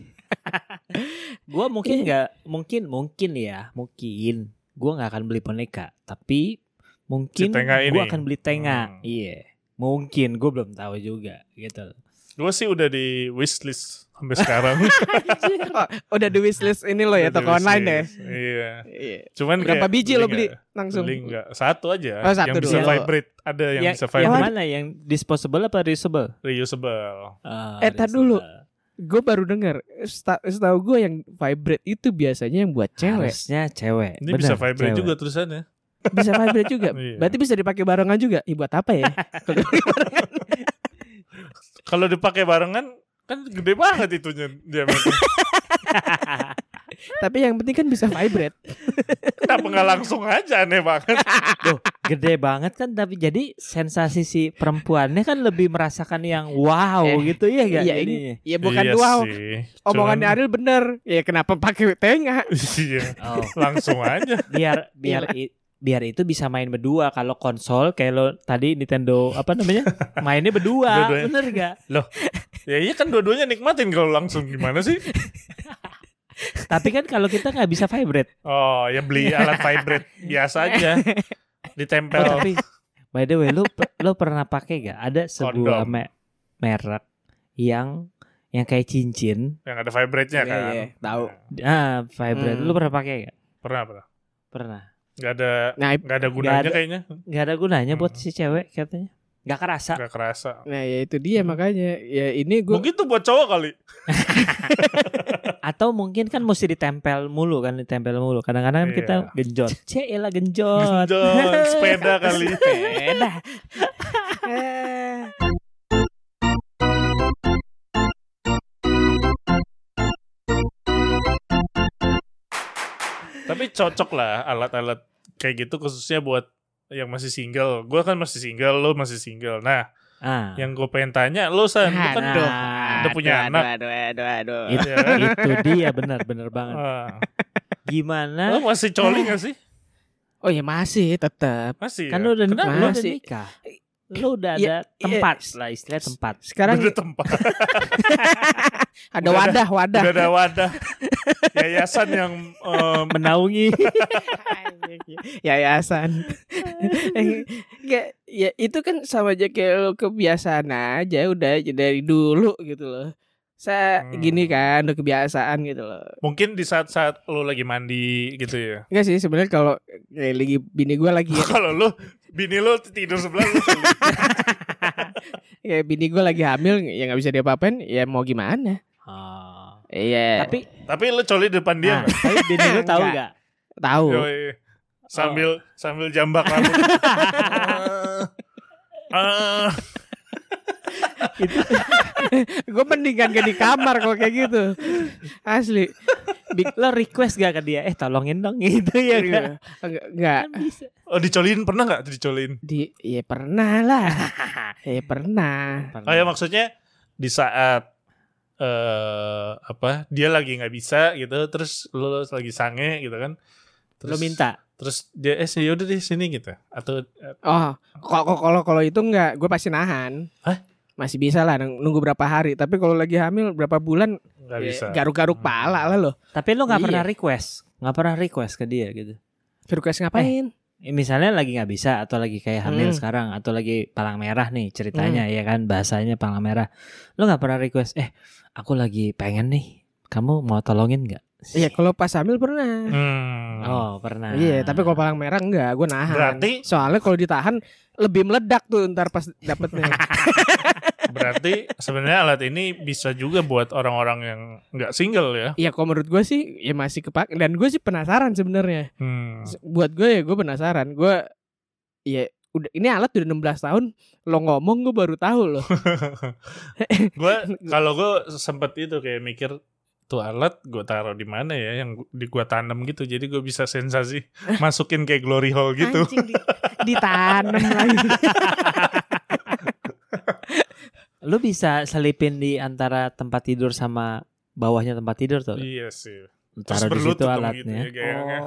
[SPEAKER 2] gua mungkin nggak mungkin mungkin ya, mungkin gua nggak akan beli boneka, tapi mungkin
[SPEAKER 3] Si Tenga
[SPEAKER 2] gua
[SPEAKER 3] ini.
[SPEAKER 2] akan beli tenga.
[SPEAKER 3] Hmm.
[SPEAKER 2] Iya. Mungkin gue belum tahu juga gitu.
[SPEAKER 3] Gue sih udah di wishlist sampai sekarang.
[SPEAKER 4] Oh, udah di wishlist ini lo
[SPEAKER 3] Udah di
[SPEAKER 4] ya toko online ya.
[SPEAKER 3] wishlist. ya. Iya.
[SPEAKER 4] Iya.
[SPEAKER 3] Cuman
[SPEAKER 4] Berapa
[SPEAKER 3] kayak
[SPEAKER 4] biji lo
[SPEAKER 3] beli
[SPEAKER 4] beli
[SPEAKER 3] nggak?
[SPEAKER 4] langsung?
[SPEAKER 3] Beli nggak? Satu aja.
[SPEAKER 4] Oh, satu
[SPEAKER 3] yang bisa
[SPEAKER 4] dulu. Ya,
[SPEAKER 3] vibrate. Ada yang
[SPEAKER 2] yang,
[SPEAKER 3] bisa
[SPEAKER 2] Ya, yang
[SPEAKER 3] vibrate.
[SPEAKER 2] mana yang disposable apa reusable?
[SPEAKER 3] Reusable.
[SPEAKER 2] Ah,
[SPEAKER 4] Eh, tar dulu.
[SPEAKER 2] reusable.
[SPEAKER 4] Gue baru dengar. Seta- Setahu gue yang vibrate itu biasanya yang buat cewek.
[SPEAKER 2] Harusnya cewek.
[SPEAKER 3] Ini
[SPEAKER 2] Benar,
[SPEAKER 3] bisa vibrate
[SPEAKER 2] cewek.
[SPEAKER 3] juga tulisannya.
[SPEAKER 4] Bisa vibrate juga.
[SPEAKER 3] Iya.
[SPEAKER 4] Berarti bisa dipakai barengan juga. Ih, buat apa ya? Kalau barengan.
[SPEAKER 3] Kalau dipakai barengan kan gede banget itunya diameter.
[SPEAKER 4] Tapi yang penting kan bisa vibrate.
[SPEAKER 3] Kenapa nggak langsung aja aneh banget?
[SPEAKER 2] Gede banget kan tapi jadi sensasi si perempuannya kan lebih merasakan yang wow
[SPEAKER 4] Eh,
[SPEAKER 2] gitu ya gak?
[SPEAKER 4] iya,
[SPEAKER 2] jadinya?
[SPEAKER 4] Ya bukan
[SPEAKER 3] Iya
[SPEAKER 4] wow.
[SPEAKER 3] sih.
[SPEAKER 4] Omongannya
[SPEAKER 3] Cuman-
[SPEAKER 4] Ariel bener. Ya kenapa pakai tengah?
[SPEAKER 3] Iya.
[SPEAKER 2] Oh,
[SPEAKER 3] Langsung aja.
[SPEAKER 2] biar biar
[SPEAKER 4] Iya.
[SPEAKER 2] i- biar itu bisa main berdua kalau konsol kayak lo tadi Nintendo apa namanya mainnya berdua
[SPEAKER 3] Dua-duanya.
[SPEAKER 2] bener gak
[SPEAKER 3] Ya iya kan dua-duanya nikmatin kalau langsung gimana sih?
[SPEAKER 2] tapi kan kalau kita nggak bisa vibrate
[SPEAKER 3] Oh, ya beli alat vibrate biasa aja.
[SPEAKER 2] Oh,
[SPEAKER 3] Ditempel.
[SPEAKER 2] tapi by the way lo pe- lo pernah pakai gak ada sebuah
[SPEAKER 3] Kondom.
[SPEAKER 2] me- merek yang yang kayak cincin
[SPEAKER 3] yang ada vibrate-nya
[SPEAKER 4] Iya,
[SPEAKER 3] kan.
[SPEAKER 4] iya, tahu.
[SPEAKER 2] ah vibrate
[SPEAKER 4] Hmm.
[SPEAKER 2] lo pernah pakai gak
[SPEAKER 3] Pernah pernah.
[SPEAKER 2] pernah
[SPEAKER 3] Gak ada
[SPEAKER 4] Nah, i-
[SPEAKER 3] nggak ada gunanya
[SPEAKER 2] Nggak ada.
[SPEAKER 3] kayaknya.
[SPEAKER 2] nggak ada gunanya buat
[SPEAKER 3] Hmm.
[SPEAKER 2] si cewek katanya nggak kerasa
[SPEAKER 3] Gak kerasa.
[SPEAKER 4] nah ya itu dia makanya. Ya ini gue
[SPEAKER 3] Mungkin tuh buat cowok kali.
[SPEAKER 2] atau mungkin kan mesti ditempel mulu kan ditempel mulu kadang-kadang kan
[SPEAKER 3] Iya.
[SPEAKER 2] kita genjot cila genjot
[SPEAKER 3] Genjot, sepeda kali.
[SPEAKER 2] sepeda
[SPEAKER 3] Eh. Tapi cocok lah alat-alat kayak gitu khususnya buat yang masih single. Gua kan masih single, lo masih single. Nah,
[SPEAKER 2] ah
[SPEAKER 3] yang gue pengen tanya, lo san, lu kan
[SPEAKER 2] nah.
[SPEAKER 3] udah, udah punya anak.
[SPEAKER 4] Aduh, aduh, aduh.
[SPEAKER 2] itu,
[SPEAKER 3] Iya kan?
[SPEAKER 2] itu dia benar-benar banget
[SPEAKER 3] Ah.
[SPEAKER 2] gimana
[SPEAKER 3] Lo masih coli gak sih?
[SPEAKER 4] Oh ya masih tetap.
[SPEAKER 3] Masih.
[SPEAKER 2] kan
[SPEAKER 3] ya?
[SPEAKER 2] lu udah
[SPEAKER 3] Kenapa?
[SPEAKER 2] lu udah
[SPEAKER 4] Masih.
[SPEAKER 2] nikah lu udah
[SPEAKER 4] Iya,
[SPEAKER 2] ada
[SPEAKER 4] iya.
[SPEAKER 2] tempat lah istilah tempat
[SPEAKER 4] Sekarang
[SPEAKER 3] Udah tempat.
[SPEAKER 4] ada
[SPEAKER 3] udah ada-
[SPEAKER 4] wadah, wadah.
[SPEAKER 3] Udah ada wadah yayasan yang em,
[SPEAKER 2] menaungi
[SPEAKER 4] Yayasan. Eh, Enggak, ya itu kan sama aja kayak lo kebiasaan aja udah aja dari dulu gitu loh. Saya
[SPEAKER 3] Hmm.
[SPEAKER 4] gini kan udah kebiasaan gitu loh.
[SPEAKER 3] mungkin di saat-saat lu lagi mandi gitu ya.
[SPEAKER 4] Enggak sih sebenarnya kalau kayak lagi bini gue lagi
[SPEAKER 2] Iya.
[SPEAKER 3] Kalau lu bini lu tidur sebelah lu.
[SPEAKER 4] kayak ya, bini gue lagi hamil ya nggak bisa diapa-apain ya mau gimana?
[SPEAKER 2] Ah.
[SPEAKER 4] Iya.
[SPEAKER 2] tapi
[SPEAKER 3] Tapi lu coli di depan eh, dia
[SPEAKER 2] nah,
[SPEAKER 3] nggak?
[SPEAKER 2] tapi bini lu tahu
[SPEAKER 4] Enggak.
[SPEAKER 2] gak
[SPEAKER 4] tahu.
[SPEAKER 2] Oh.
[SPEAKER 3] Yoi. Sambil sambil jambak rambut. Ah,
[SPEAKER 4] gue mendingan gak di kamar kalau kayak gitu. Asli.
[SPEAKER 2] Bi- lo request gak ke dia eh tolongin dong gitu ya
[SPEAKER 3] Iya,
[SPEAKER 4] Iya.
[SPEAKER 2] kan
[SPEAKER 4] Enggak, enggak.
[SPEAKER 2] Kan bisa.
[SPEAKER 3] oh, dicolin pernah nggak dicolin?
[SPEAKER 4] Di ya pernah lah. ya pernah.
[SPEAKER 3] Oh ya maksudnya di saat eh apa dia lagi nggak bisa gitu terus lu lagi sange gitu kan
[SPEAKER 2] lo minta
[SPEAKER 3] terus dia eh sih, yaudah deh sini gitu atau eh,
[SPEAKER 4] Oh, kalau kalau kalau itu enggak, gue pasti nahan.
[SPEAKER 3] Hah?
[SPEAKER 4] Masih bisa lah nung- nunggu berapa hari, tapi kalau lagi hamil berapa bulan
[SPEAKER 3] nggak
[SPEAKER 2] Iya,
[SPEAKER 4] ya,
[SPEAKER 3] bisa
[SPEAKER 4] garuk-garuk
[SPEAKER 3] Hmm.
[SPEAKER 4] pala lah loh.
[SPEAKER 2] Tapi lo nggak
[SPEAKER 4] Iya.
[SPEAKER 2] pernah request, nggak pernah request ke dia gitu.
[SPEAKER 4] Request ngapain?
[SPEAKER 2] Eh, Misalnya lagi nggak bisa atau lagi kayak hamil
[SPEAKER 4] Hmm.
[SPEAKER 2] sekarang atau lagi palang merah nih ceritanya ya kan bahasanya palang merah. Lo nggak pernah request, eh aku lagi pengen nih, kamu mau tolongin nggak?
[SPEAKER 3] Eh.
[SPEAKER 4] Iya, kalau pas hamil pernah.
[SPEAKER 3] Hmm.
[SPEAKER 2] Oh pernah.
[SPEAKER 4] Iya, tapi kalau palang merah enggak, gue nahan.
[SPEAKER 3] Berarti-
[SPEAKER 4] soalnya kalau ditahan lebih meledak tuh ntar pas dapetnya.
[SPEAKER 3] Berarti sebenarnya alat ini bisa juga buat orang-orang yang nggak single ya.
[SPEAKER 4] Iya, kalau menurut gue sih ya masih kepak. Dan gue sih penasaran sebenarnya.
[SPEAKER 3] Hmm.
[SPEAKER 4] Se- Buat gue ya gue penasaran. Gue ya udah ini alat udah 16 tahun lo ngomong gue baru tahu loh.
[SPEAKER 3] Gue kalau gue sempet itu kayak mikir tuh alat gue taruh di mana ya yang gu- di gua tanam gitu jadi gue bisa sensasi masukin kayak glory hole gitu
[SPEAKER 4] Anjing di, ditanam lagi.
[SPEAKER 2] Lo bisa selipin di antara tempat tidur sama bawahnya tempat tidur tuh.
[SPEAKER 3] iya sih
[SPEAKER 2] Taruh di
[SPEAKER 3] terus
[SPEAKER 2] situ
[SPEAKER 3] berlutut dong gitu ya
[SPEAKER 2] alatnya. Oh.
[SPEAKER 3] gayanya.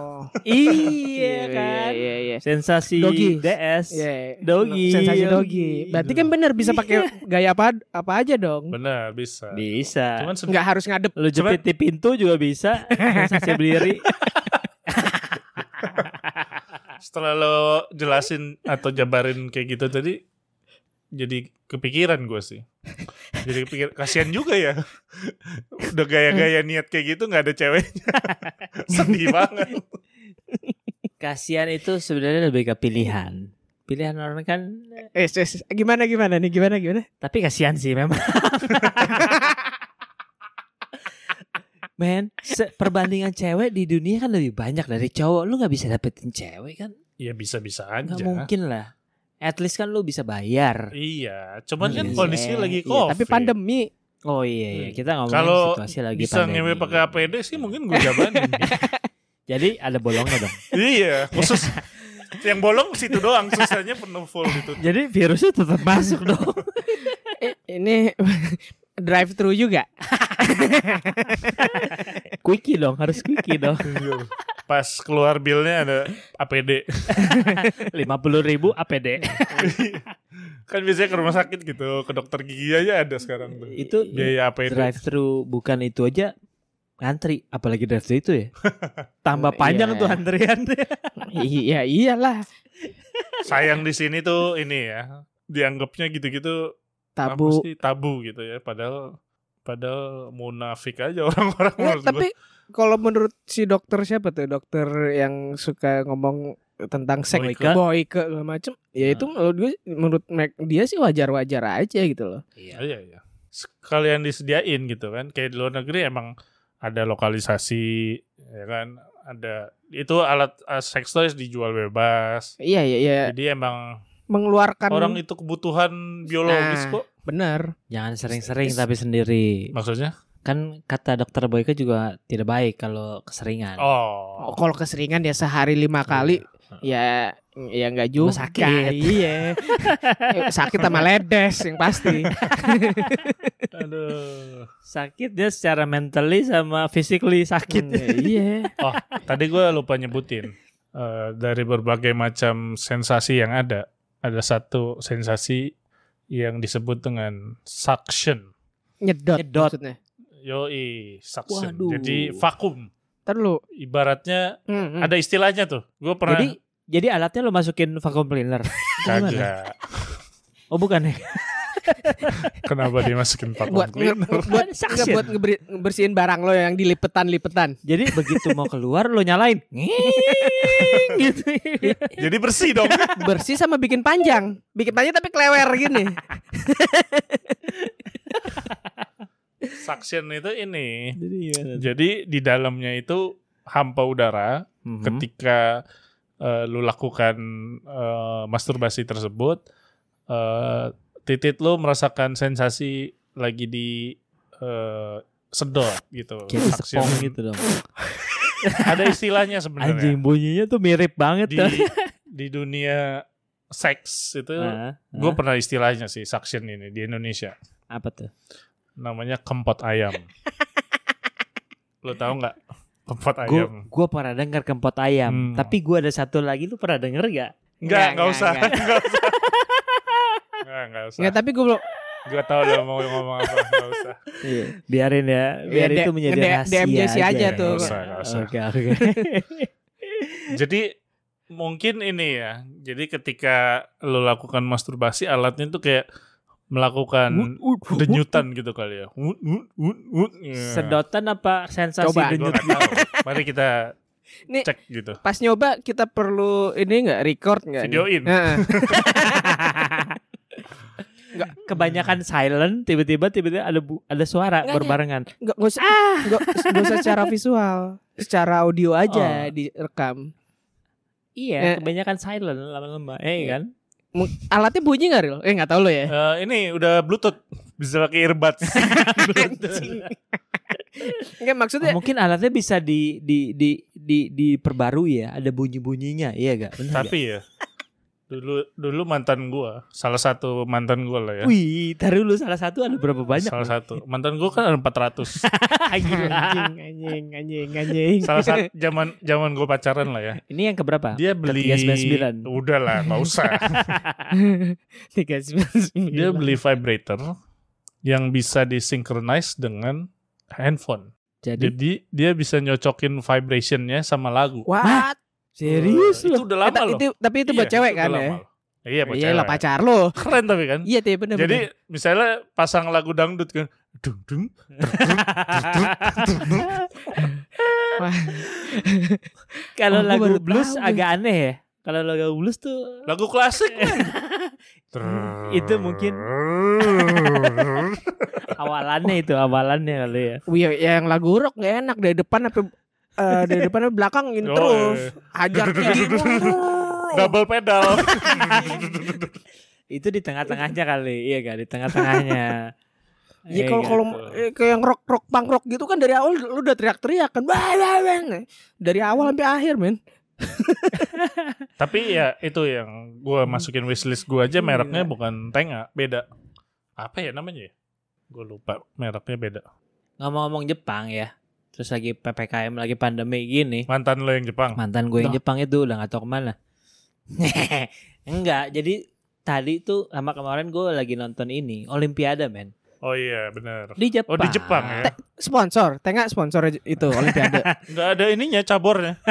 [SPEAKER 2] iya kan.
[SPEAKER 4] Oh. Iya iya.
[SPEAKER 2] Sensasi
[SPEAKER 4] Doggy.
[SPEAKER 2] DS.
[SPEAKER 4] Iya.
[SPEAKER 2] Doggy.
[SPEAKER 4] Sensasi dogi. Berarti kan bener bisa pakai gaya apa apa aja dong.
[SPEAKER 3] benar bisa
[SPEAKER 2] Bisa.
[SPEAKER 3] cuman sebe-
[SPEAKER 4] Nggak harus ngadep.
[SPEAKER 2] Lo jepit di pintu juga bisa. Sensasi berdiri.
[SPEAKER 3] setelah lo jelasin atau jabarin kayak gitu tadi jadi kepikiran gue sih Jadi pikir kasihan juga ya. Udah gaya-gaya niat kayak gitu nggak ada ceweknya. Sedih banget.
[SPEAKER 2] Kasihan itu sebenarnya lebih ke pilihan. Pilihan orang kan
[SPEAKER 4] Eh, eh, eh, gimana gimana nih? Gimana gimana?
[SPEAKER 2] tapi kasihan sih memang. Men, se- perbandingan cewek di dunia kan lebih banyak dari cowok. Lu nggak bisa dapetin cewek kan?
[SPEAKER 3] Ya bisa-bisa
[SPEAKER 2] Nggak
[SPEAKER 3] aja.
[SPEAKER 2] mungkin lah. At least kan lu bisa bayar.
[SPEAKER 3] Iya, cuman kan
[SPEAKER 2] Iya.
[SPEAKER 3] kondisi lagi
[SPEAKER 2] Iya,
[SPEAKER 3] covid.
[SPEAKER 4] Tapi pandemi.
[SPEAKER 2] Oh iya, iya.
[SPEAKER 3] Hmm.
[SPEAKER 2] kita ngomongin
[SPEAKER 3] Kalau
[SPEAKER 2] situasi lagi
[SPEAKER 3] bisa
[SPEAKER 2] pandemi.
[SPEAKER 3] ngewe pakai APD sih mungkin gue jabanin.
[SPEAKER 2] Jadi ada bolongnya dong.
[SPEAKER 3] iya, khusus yang bolong situ doang, sisanya penuh full gitu.
[SPEAKER 2] Jadi virusnya tetap masuk dong.
[SPEAKER 4] Eh, ini drive thru juga.
[SPEAKER 2] quickie dong, harus quickie dong.
[SPEAKER 3] Pas keluar bilnya ada APD.
[SPEAKER 2] Lima puluh ribu APD.
[SPEAKER 3] Kan biasanya ke rumah sakit gitu, ke dokter gigi aja ada sekarang tuh.
[SPEAKER 2] itu
[SPEAKER 3] Biaya APD.
[SPEAKER 2] drive thru bukan itu aja ngantri, apalagi drive thru itu ya. Tambah panjang
[SPEAKER 4] Iya.
[SPEAKER 2] tuh antrian.
[SPEAKER 4] iya iyalah.
[SPEAKER 3] Sayang di sini tuh ini ya, dianggapnya gitu-gitu apa
[SPEAKER 4] Tabu.
[SPEAKER 3] sih, tabu gitu ya, padahal padahal munafik aja
[SPEAKER 2] Iya,
[SPEAKER 3] orang-orang
[SPEAKER 4] Nggak,
[SPEAKER 3] menurut gua.
[SPEAKER 4] Ya, tapi kalau menurut si dokter siapa tuh dokter yang suka ngomong tentang seks
[SPEAKER 2] Boyke. Ah.
[SPEAKER 4] boy ke segala macem ya itu menurut gue menurut Mac- dia sih wajar-wajar aja gitu loh
[SPEAKER 3] Iya. Iya, iya. Sekalian disediain gitu kan. Kayak di luar negeri emang ada lokalisasi ya kan, ada itu alat uh, sex toys dijual bebas.
[SPEAKER 4] iya iya iya
[SPEAKER 3] Jadi emang
[SPEAKER 4] mengeluarkan
[SPEAKER 3] orang itu kebutuhan biologis
[SPEAKER 4] Nah.
[SPEAKER 3] kok.
[SPEAKER 4] benar
[SPEAKER 2] Jangan sering-sering tapi sendiri.
[SPEAKER 3] Maksudnya?
[SPEAKER 2] Kan kata dokter Boyke juga tidak baik kalau keseringan.
[SPEAKER 4] Oh,
[SPEAKER 3] Oh.
[SPEAKER 4] kalau keseringan ya sehari lima kali ya ya nggak
[SPEAKER 2] Iya. Ah. Rumah
[SPEAKER 4] juga
[SPEAKER 2] sakit.
[SPEAKER 4] iya Eh, sakit sama ledes yang pasti
[SPEAKER 3] Aduh.
[SPEAKER 2] Sakit dia secara mentally sama physically sakit.
[SPEAKER 4] Hmm, iya
[SPEAKER 3] Tadi gue lupa nyebutin Eh, dari berbagai macam sensasi yang ada, ada satu sensasi yang disebut dengan suction.
[SPEAKER 4] nyedot,
[SPEAKER 2] Nyedot.
[SPEAKER 4] maksudnya
[SPEAKER 3] Yoi, suction.
[SPEAKER 2] Waduh.
[SPEAKER 3] Jadi vakum.
[SPEAKER 4] Ntar lu
[SPEAKER 3] Ibaratnya
[SPEAKER 4] hmm, hmm.
[SPEAKER 3] ada istilahnya tuh. Gue pernah
[SPEAKER 2] Jadi jadi alatnya lo masukin vacuum cleaner. Gimana?
[SPEAKER 3] kagak.
[SPEAKER 2] Oh bukan ya?
[SPEAKER 3] Kenapa dimasukin vakum
[SPEAKER 4] buat
[SPEAKER 3] cleaner?
[SPEAKER 4] nge- buat
[SPEAKER 2] Suction.
[SPEAKER 4] nggak, buat ngeberi- ngebersihin barang lo yang dilipetan-lipetan
[SPEAKER 2] Jadi begitu mau keluar lo nyalain. Nging, gitu.
[SPEAKER 3] Jadi bersih dong.
[SPEAKER 4] bersih sama bikin panjang bikin panjang tapi kelewer gini
[SPEAKER 3] Suction itu ini.
[SPEAKER 2] Jadi gimana?
[SPEAKER 3] Jadi di dalamnya itu hampa udara
[SPEAKER 2] Hmm.
[SPEAKER 3] ketika eh, lu lakukan eh, masturbasi tersebut eh, titit lu merasakan sensasi lagi di eh, sedot gitu.
[SPEAKER 2] Kayak
[SPEAKER 3] Suction.
[SPEAKER 2] sepong gitu dong.
[SPEAKER 3] Ada istilahnya sebenarnya.
[SPEAKER 2] Anjing bunyinya tuh mirip banget
[SPEAKER 3] ya? Di
[SPEAKER 2] tuh.
[SPEAKER 3] di dunia seks itu
[SPEAKER 2] Hah?
[SPEAKER 3] Gue pernah istilahnya sih suction ini di Indonesia.
[SPEAKER 2] apa tuh?
[SPEAKER 3] Namanya kempot ayam. Lo tau nggak kempot
[SPEAKER 2] Gue
[SPEAKER 3] ayam?
[SPEAKER 2] gua pernah denger kempot ayam,
[SPEAKER 3] Hmm.
[SPEAKER 2] tapi gua ada satu lagi lu pernah denger gak?
[SPEAKER 3] Nggak, nggak
[SPEAKER 4] nggak,
[SPEAKER 3] usah.
[SPEAKER 4] nggak.
[SPEAKER 3] Nggak usah. Nggak, nggak usah.
[SPEAKER 4] nggak tapi gue belum
[SPEAKER 3] Gue tau lo mau ngomong apa. Nggak usah.
[SPEAKER 2] Biarin ya, biar
[SPEAKER 4] Iya,
[SPEAKER 2] itu
[SPEAKER 4] D-
[SPEAKER 2] menjadi
[SPEAKER 4] D-
[SPEAKER 2] rahasia.
[SPEAKER 4] DM Jesse aja
[SPEAKER 3] tuh. Nggak usah, nggak usah.
[SPEAKER 2] Oke, oke.
[SPEAKER 3] Jadi mungkin ini ya. Jadi ketika lo lakukan masturbasi alatnya tuh kayak melakukan denyutan gitu kali ya. Wut, wut, wut, wut. Ya.
[SPEAKER 2] Sedotan apa sensasi
[SPEAKER 3] Gua
[SPEAKER 4] Coba.
[SPEAKER 2] denyut?
[SPEAKER 3] nggak tahu. Mari kita
[SPEAKER 4] Nih.
[SPEAKER 3] cek gitu.
[SPEAKER 4] pas nyoba kita perlu ini nggak record nggak nih?
[SPEAKER 3] Videoin.
[SPEAKER 4] Heeh.
[SPEAKER 2] Kebanyakan silent, tiba-tiba tiba-tiba ada bu- ada suara
[SPEAKER 4] Nggak,
[SPEAKER 2] berbarengan.
[SPEAKER 4] nggak nggak usah nggak nggak usah secara visual secara audio aja
[SPEAKER 2] Oh.
[SPEAKER 4] direkam
[SPEAKER 2] Iya,
[SPEAKER 4] Eh.
[SPEAKER 2] kebanyakan silent lama-lama.
[SPEAKER 4] Iya.
[SPEAKER 2] Eh kan?
[SPEAKER 4] Mu- alatnya bunyi nggak Ril? eh nggak tahu lo ya
[SPEAKER 3] Eh, ini udah bluetooth bisa pakai earbuds
[SPEAKER 4] nggak maksudnya
[SPEAKER 2] Oh, mungkin alatnya bisa di di di di diperbarui ya, ada bunyi-bunyinya, iya gak? Bener nggak?
[SPEAKER 3] tapi ya dulu dulu mantan gua salah satu mantan gua lah ya
[SPEAKER 2] Wih, taruh lu salah satu ada berapa banyak?
[SPEAKER 3] salah satu mantan gua kan ada 400
[SPEAKER 2] Gila.
[SPEAKER 4] Iya, anjing anjing anjing anjing
[SPEAKER 3] salah satu zaman zaman gua pacaran lah ya
[SPEAKER 4] Iya.
[SPEAKER 2] Ini yang keberapa?
[SPEAKER 3] dia beli
[SPEAKER 2] 399.
[SPEAKER 3] udah lah nggak usah
[SPEAKER 4] tiga sembilan sembilan.
[SPEAKER 3] dia beli vibrator yang bisa disynchronize dengan handphone
[SPEAKER 2] Jadi
[SPEAKER 3] jadi dia bisa nyocokin vibrationnya sama lagu
[SPEAKER 4] what Eh,
[SPEAKER 2] serius
[SPEAKER 3] Eh,
[SPEAKER 2] lu?
[SPEAKER 3] itu udah lama
[SPEAKER 4] Ta-
[SPEAKER 3] loh
[SPEAKER 4] Oh, itu tapi itu buat
[SPEAKER 3] Iya,
[SPEAKER 4] cewek
[SPEAKER 3] udah
[SPEAKER 4] kan
[SPEAKER 3] lama
[SPEAKER 4] ya
[SPEAKER 3] loh. Iya, buat
[SPEAKER 4] Iya lah
[SPEAKER 3] cewek.
[SPEAKER 4] pacar lo.
[SPEAKER 3] Keren tapi kan.
[SPEAKER 4] Iya teh bener
[SPEAKER 3] Jadi misalnya pasang lagu dangdut kan, dung dung,
[SPEAKER 2] Kalau
[SPEAKER 4] Oh, gua
[SPEAKER 2] lagu
[SPEAKER 4] baru
[SPEAKER 2] blues
[SPEAKER 4] tahu nih.
[SPEAKER 2] agak aneh ya. Kalau lagu blues tuh
[SPEAKER 3] lagu klasik. kan.
[SPEAKER 2] Hmm, Itu mungkin- awalannya itu awalannya kali ya.
[SPEAKER 4] Wih, yang lagu rock gak enak dari depan sampai eh, dari depan sampai belakang gini
[SPEAKER 3] Oh,
[SPEAKER 4] terus.
[SPEAKER 3] iya.
[SPEAKER 4] Hajar gigi.
[SPEAKER 3] Double pedal.
[SPEAKER 2] Itu di tengah-tengahnya kali. Iya gak di tengah-tengahnya.
[SPEAKER 4] Ya
[SPEAKER 2] Iya
[SPEAKER 4] kalau
[SPEAKER 2] nggak?
[SPEAKER 4] kalau
[SPEAKER 3] gitu.
[SPEAKER 4] eh, kayak yang rock rock punk rock gitu kan dari awal lu udah teriak-teriak kan. Bah, bah, bah. Dari
[SPEAKER 2] Hmm.
[SPEAKER 4] awal sampai akhir, men.
[SPEAKER 3] Tapi ya itu yang gua
[SPEAKER 2] Hmm.
[SPEAKER 3] masukin wishlist
[SPEAKER 2] Iya.
[SPEAKER 3] gua aja mereknya bukan Tenga, beda. Apa ya namanya ya? Gue lupa mereknya beda.
[SPEAKER 2] ngomong-ngomong Jepang ya. Terus lagi PPKM lagi pandemi gini.
[SPEAKER 3] Mantan lo yang Jepang.
[SPEAKER 2] Mantan gue yang Jepang itu udah gak tau kemana. Enggak, jadi tadi tuh sama kemarin gue lagi nonton ini Olimpiade men
[SPEAKER 3] Oh iya benar.
[SPEAKER 2] di Jepang.
[SPEAKER 3] Oh di Jepang ya.
[SPEAKER 4] Te- Sponsor, tengah sponsor aja itu Olimpiade.
[SPEAKER 3] Enggak ada ininya cabornya.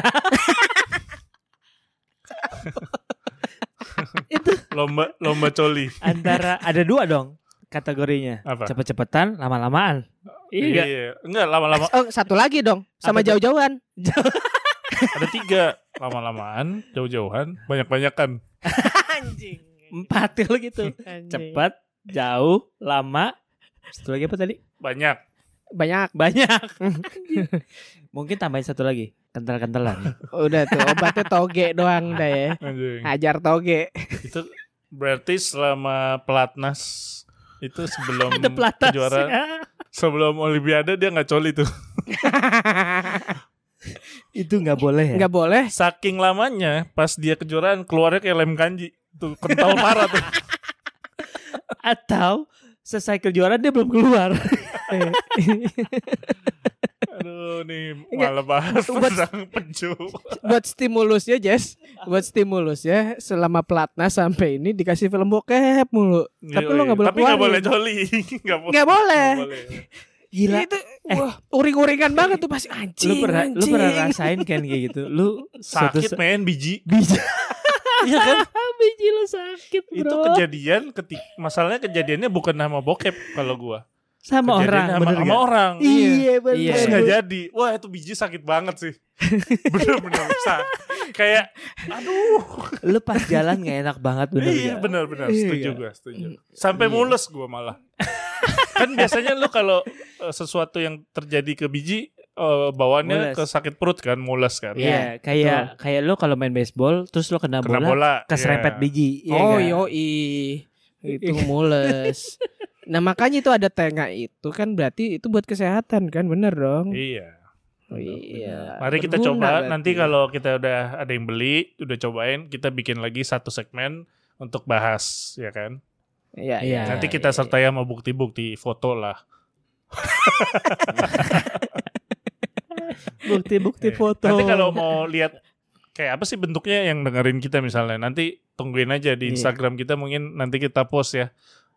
[SPEAKER 3] lomba lomba coli
[SPEAKER 2] Antara ada dua dong kategorinya.
[SPEAKER 3] apa?
[SPEAKER 2] Cepet-cepetan, lama-lamaan. Iya.
[SPEAKER 3] Enggak lama-lama
[SPEAKER 4] Oh, satu lagi dong
[SPEAKER 2] Apa
[SPEAKER 4] sama
[SPEAKER 2] tuh?
[SPEAKER 4] jauh-jauhan.
[SPEAKER 3] ada tiga lama-lamaan jauh-jauhan banyak-banyakan
[SPEAKER 4] Anjing.
[SPEAKER 2] Empat kalau gitu. Cepet, jauh, lama. Satu lagi apa tadi?
[SPEAKER 3] banyak
[SPEAKER 4] Banyak.
[SPEAKER 2] Banyak. Mungkin tambahin satu lagi. Kental-kentalan.
[SPEAKER 4] Udah tuh obatnya toge doang dah
[SPEAKER 2] Hmm.
[SPEAKER 4] ya.
[SPEAKER 3] anjing.
[SPEAKER 4] Hajar toge.
[SPEAKER 3] itu berarti selama pelatnas itu sebelum
[SPEAKER 2] Ada pelatas.
[SPEAKER 4] iya.
[SPEAKER 2] ya.
[SPEAKER 3] kejuaraan sebelum olimpiade dia nggak coli tuh
[SPEAKER 2] Itu nggak boleh ya?
[SPEAKER 4] Enggak boleh.
[SPEAKER 3] saking lamanya pas dia kejuaraan keluarnya kayak lem kanji tuh kental parah tuh
[SPEAKER 2] Atau selesai kejuaraan dia belum keluar.
[SPEAKER 3] aduh nih
[SPEAKER 4] Enggak.
[SPEAKER 3] malah bahas
[SPEAKER 4] Buat-
[SPEAKER 3] tentang penju
[SPEAKER 4] buat stimulusnya Jess buat stimulusnya selama pelatnas sampai ini dikasih film bokep mulu Tapi lu nggak boleh
[SPEAKER 3] tapi nggak boleh
[SPEAKER 4] keluarin.
[SPEAKER 3] coli nggak boleh
[SPEAKER 4] nggak boleh
[SPEAKER 3] Nggak boleh.
[SPEAKER 2] Gila.
[SPEAKER 4] itu wah Eh, uring-uringan banget tuh pasti anjing
[SPEAKER 2] Iya, lu pernah lu
[SPEAKER 4] anjing.
[SPEAKER 2] pernah rasain kan kayak gitu lu suatu
[SPEAKER 3] sakit
[SPEAKER 2] sa-
[SPEAKER 3] main biji
[SPEAKER 2] biji
[SPEAKER 3] Iya kan?
[SPEAKER 2] biji lu sakit bro
[SPEAKER 3] itu kejadian ketik masalahnya kejadiannya bukan nama bokep kalau gua
[SPEAKER 2] sama
[SPEAKER 3] Kejadian
[SPEAKER 2] orang
[SPEAKER 3] sama,
[SPEAKER 2] bener
[SPEAKER 3] sama
[SPEAKER 2] nggak?
[SPEAKER 3] orang
[SPEAKER 4] iya benar
[SPEAKER 2] Iya.
[SPEAKER 3] terus nggak jadi wah itu biji sakit banget sih bener-bener bisa kayak aduh
[SPEAKER 2] lu pas jalan gak enak banget bener
[SPEAKER 3] iya
[SPEAKER 2] nggak?
[SPEAKER 3] bener-bener
[SPEAKER 2] Iya.
[SPEAKER 3] setuju gua setuju sampai
[SPEAKER 2] Iya.
[SPEAKER 3] mules gua malah kan biasanya lu kalau eh, sesuatu yang terjadi ke biji eh, bawaannya
[SPEAKER 2] Mules.
[SPEAKER 3] ke sakit perut kan mules kan
[SPEAKER 2] Iya, kayak kayak lu kalau main baseball terus lu kena,
[SPEAKER 3] kena
[SPEAKER 2] bola,
[SPEAKER 3] bola
[SPEAKER 2] keserempet
[SPEAKER 3] iya.
[SPEAKER 2] biji iya
[SPEAKER 4] oh
[SPEAKER 2] nggak?
[SPEAKER 4] yoi itu mules nah makanya itu ada tengah itu kan berarti itu buat kesehatan kan bener dong
[SPEAKER 3] iya
[SPEAKER 4] Oh, iya
[SPEAKER 3] Mari kita
[SPEAKER 4] Berguna
[SPEAKER 3] coba
[SPEAKER 4] berarti. ya.
[SPEAKER 3] nanti kalau kita udah ada yang beli, udah cobain, kita bikin lagi satu segmen untuk bahas, ya kan?
[SPEAKER 4] Iya,
[SPEAKER 2] Iya.
[SPEAKER 4] iya,
[SPEAKER 3] nanti
[SPEAKER 4] iya,
[SPEAKER 3] kita
[SPEAKER 4] iya.
[SPEAKER 3] sertai sama bukti-bukti foto lah.
[SPEAKER 2] bukti-bukti
[SPEAKER 3] Iya.
[SPEAKER 2] foto
[SPEAKER 3] Nanti kalau mau lihat kayak apa sih bentuknya yang dengerin kita misalnya, nanti tungguin aja di
[SPEAKER 4] Iya.
[SPEAKER 3] Instagram kita mungkin nanti kita post ya.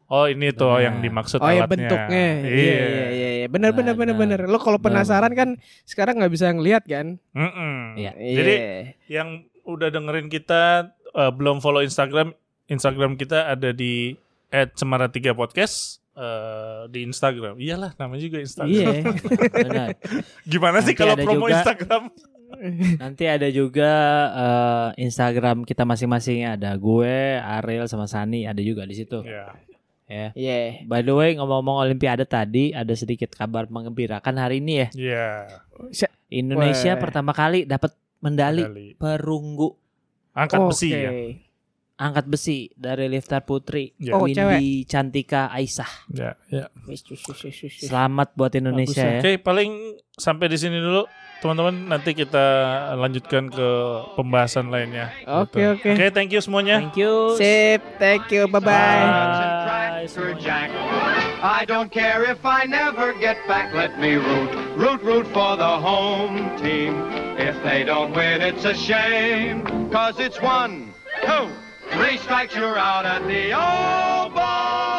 [SPEAKER 3] Oh ini tuh
[SPEAKER 2] Benar.
[SPEAKER 3] yang dimaksud
[SPEAKER 4] Oh
[SPEAKER 3] alatnya.
[SPEAKER 4] ya bentuknya. Iya iya iya iya. Benar benar
[SPEAKER 3] Nah,
[SPEAKER 4] benar benar.
[SPEAKER 2] Benar.
[SPEAKER 4] Lo kalau
[SPEAKER 2] Benar.
[SPEAKER 4] penasaran kan sekarang nggak bisa ngelihat kan?
[SPEAKER 3] Mm-mm.
[SPEAKER 2] Iya.
[SPEAKER 3] Jadi
[SPEAKER 4] Iya.
[SPEAKER 3] yang udah dengerin kita eh, belum follow Instagram, Instagram kita ada di @cemara3 podcast eh, di Instagram. Iyalah namanya juga Instagram.
[SPEAKER 4] Iya.
[SPEAKER 2] Benar.
[SPEAKER 3] Gimana sih
[SPEAKER 2] Nanti
[SPEAKER 3] kalau
[SPEAKER 2] ada juga-
[SPEAKER 3] promo Instagram?
[SPEAKER 2] nanti ada juga eh, Instagram kita masing-masing ada gue Ariel sama Sani ada juga di situ
[SPEAKER 3] Ya.
[SPEAKER 2] ya
[SPEAKER 4] Iya.
[SPEAKER 2] By the way, ngomong-ngomong Olimpiade tadi, ada sedikit kabar mengembirakan hari ini ya.
[SPEAKER 3] Iya.
[SPEAKER 2] Indonesia
[SPEAKER 4] Weh.
[SPEAKER 2] pertama kali dapat mendali
[SPEAKER 3] Kali.
[SPEAKER 2] perunggu
[SPEAKER 3] Angkat besi
[SPEAKER 4] Oke.
[SPEAKER 3] ya.
[SPEAKER 2] angkat besi dari lifter putri
[SPEAKER 3] Ya.
[SPEAKER 4] Oh,
[SPEAKER 2] Windy Cantika Aisyah.
[SPEAKER 3] Ya, ya.
[SPEAKER 4] Wis, wis, wis, wis, wis, wis.
[SPEAKER 2] Selamat buat Indonesia
[SPEAKER 4] Bagus,
[SPEAKER 2] ya.
[SPEAKER 3] Oke, paling sampai di sini dulu. Teman-teman, nanti kita lanjutkan ke pembahasan lainnya.
[SPEAKER 4] Oke,
[SPEAKER 3] Gitu.
[SPEAKER 4] oke.
[SPEAKER 3] Oke, thank you semuanya.
[SPEAKER 2] Thank you.
[SPEAKER 4] Sip. Thank you. Bye bye.
[SPEAKER 2] Bye.
[SPEAKER 5] Jack. I don't care if I never get back. Let me root, root, root for the home team. If they don't win, it's a shame. Cause it's one, two, three strikes, you're out at the old ball.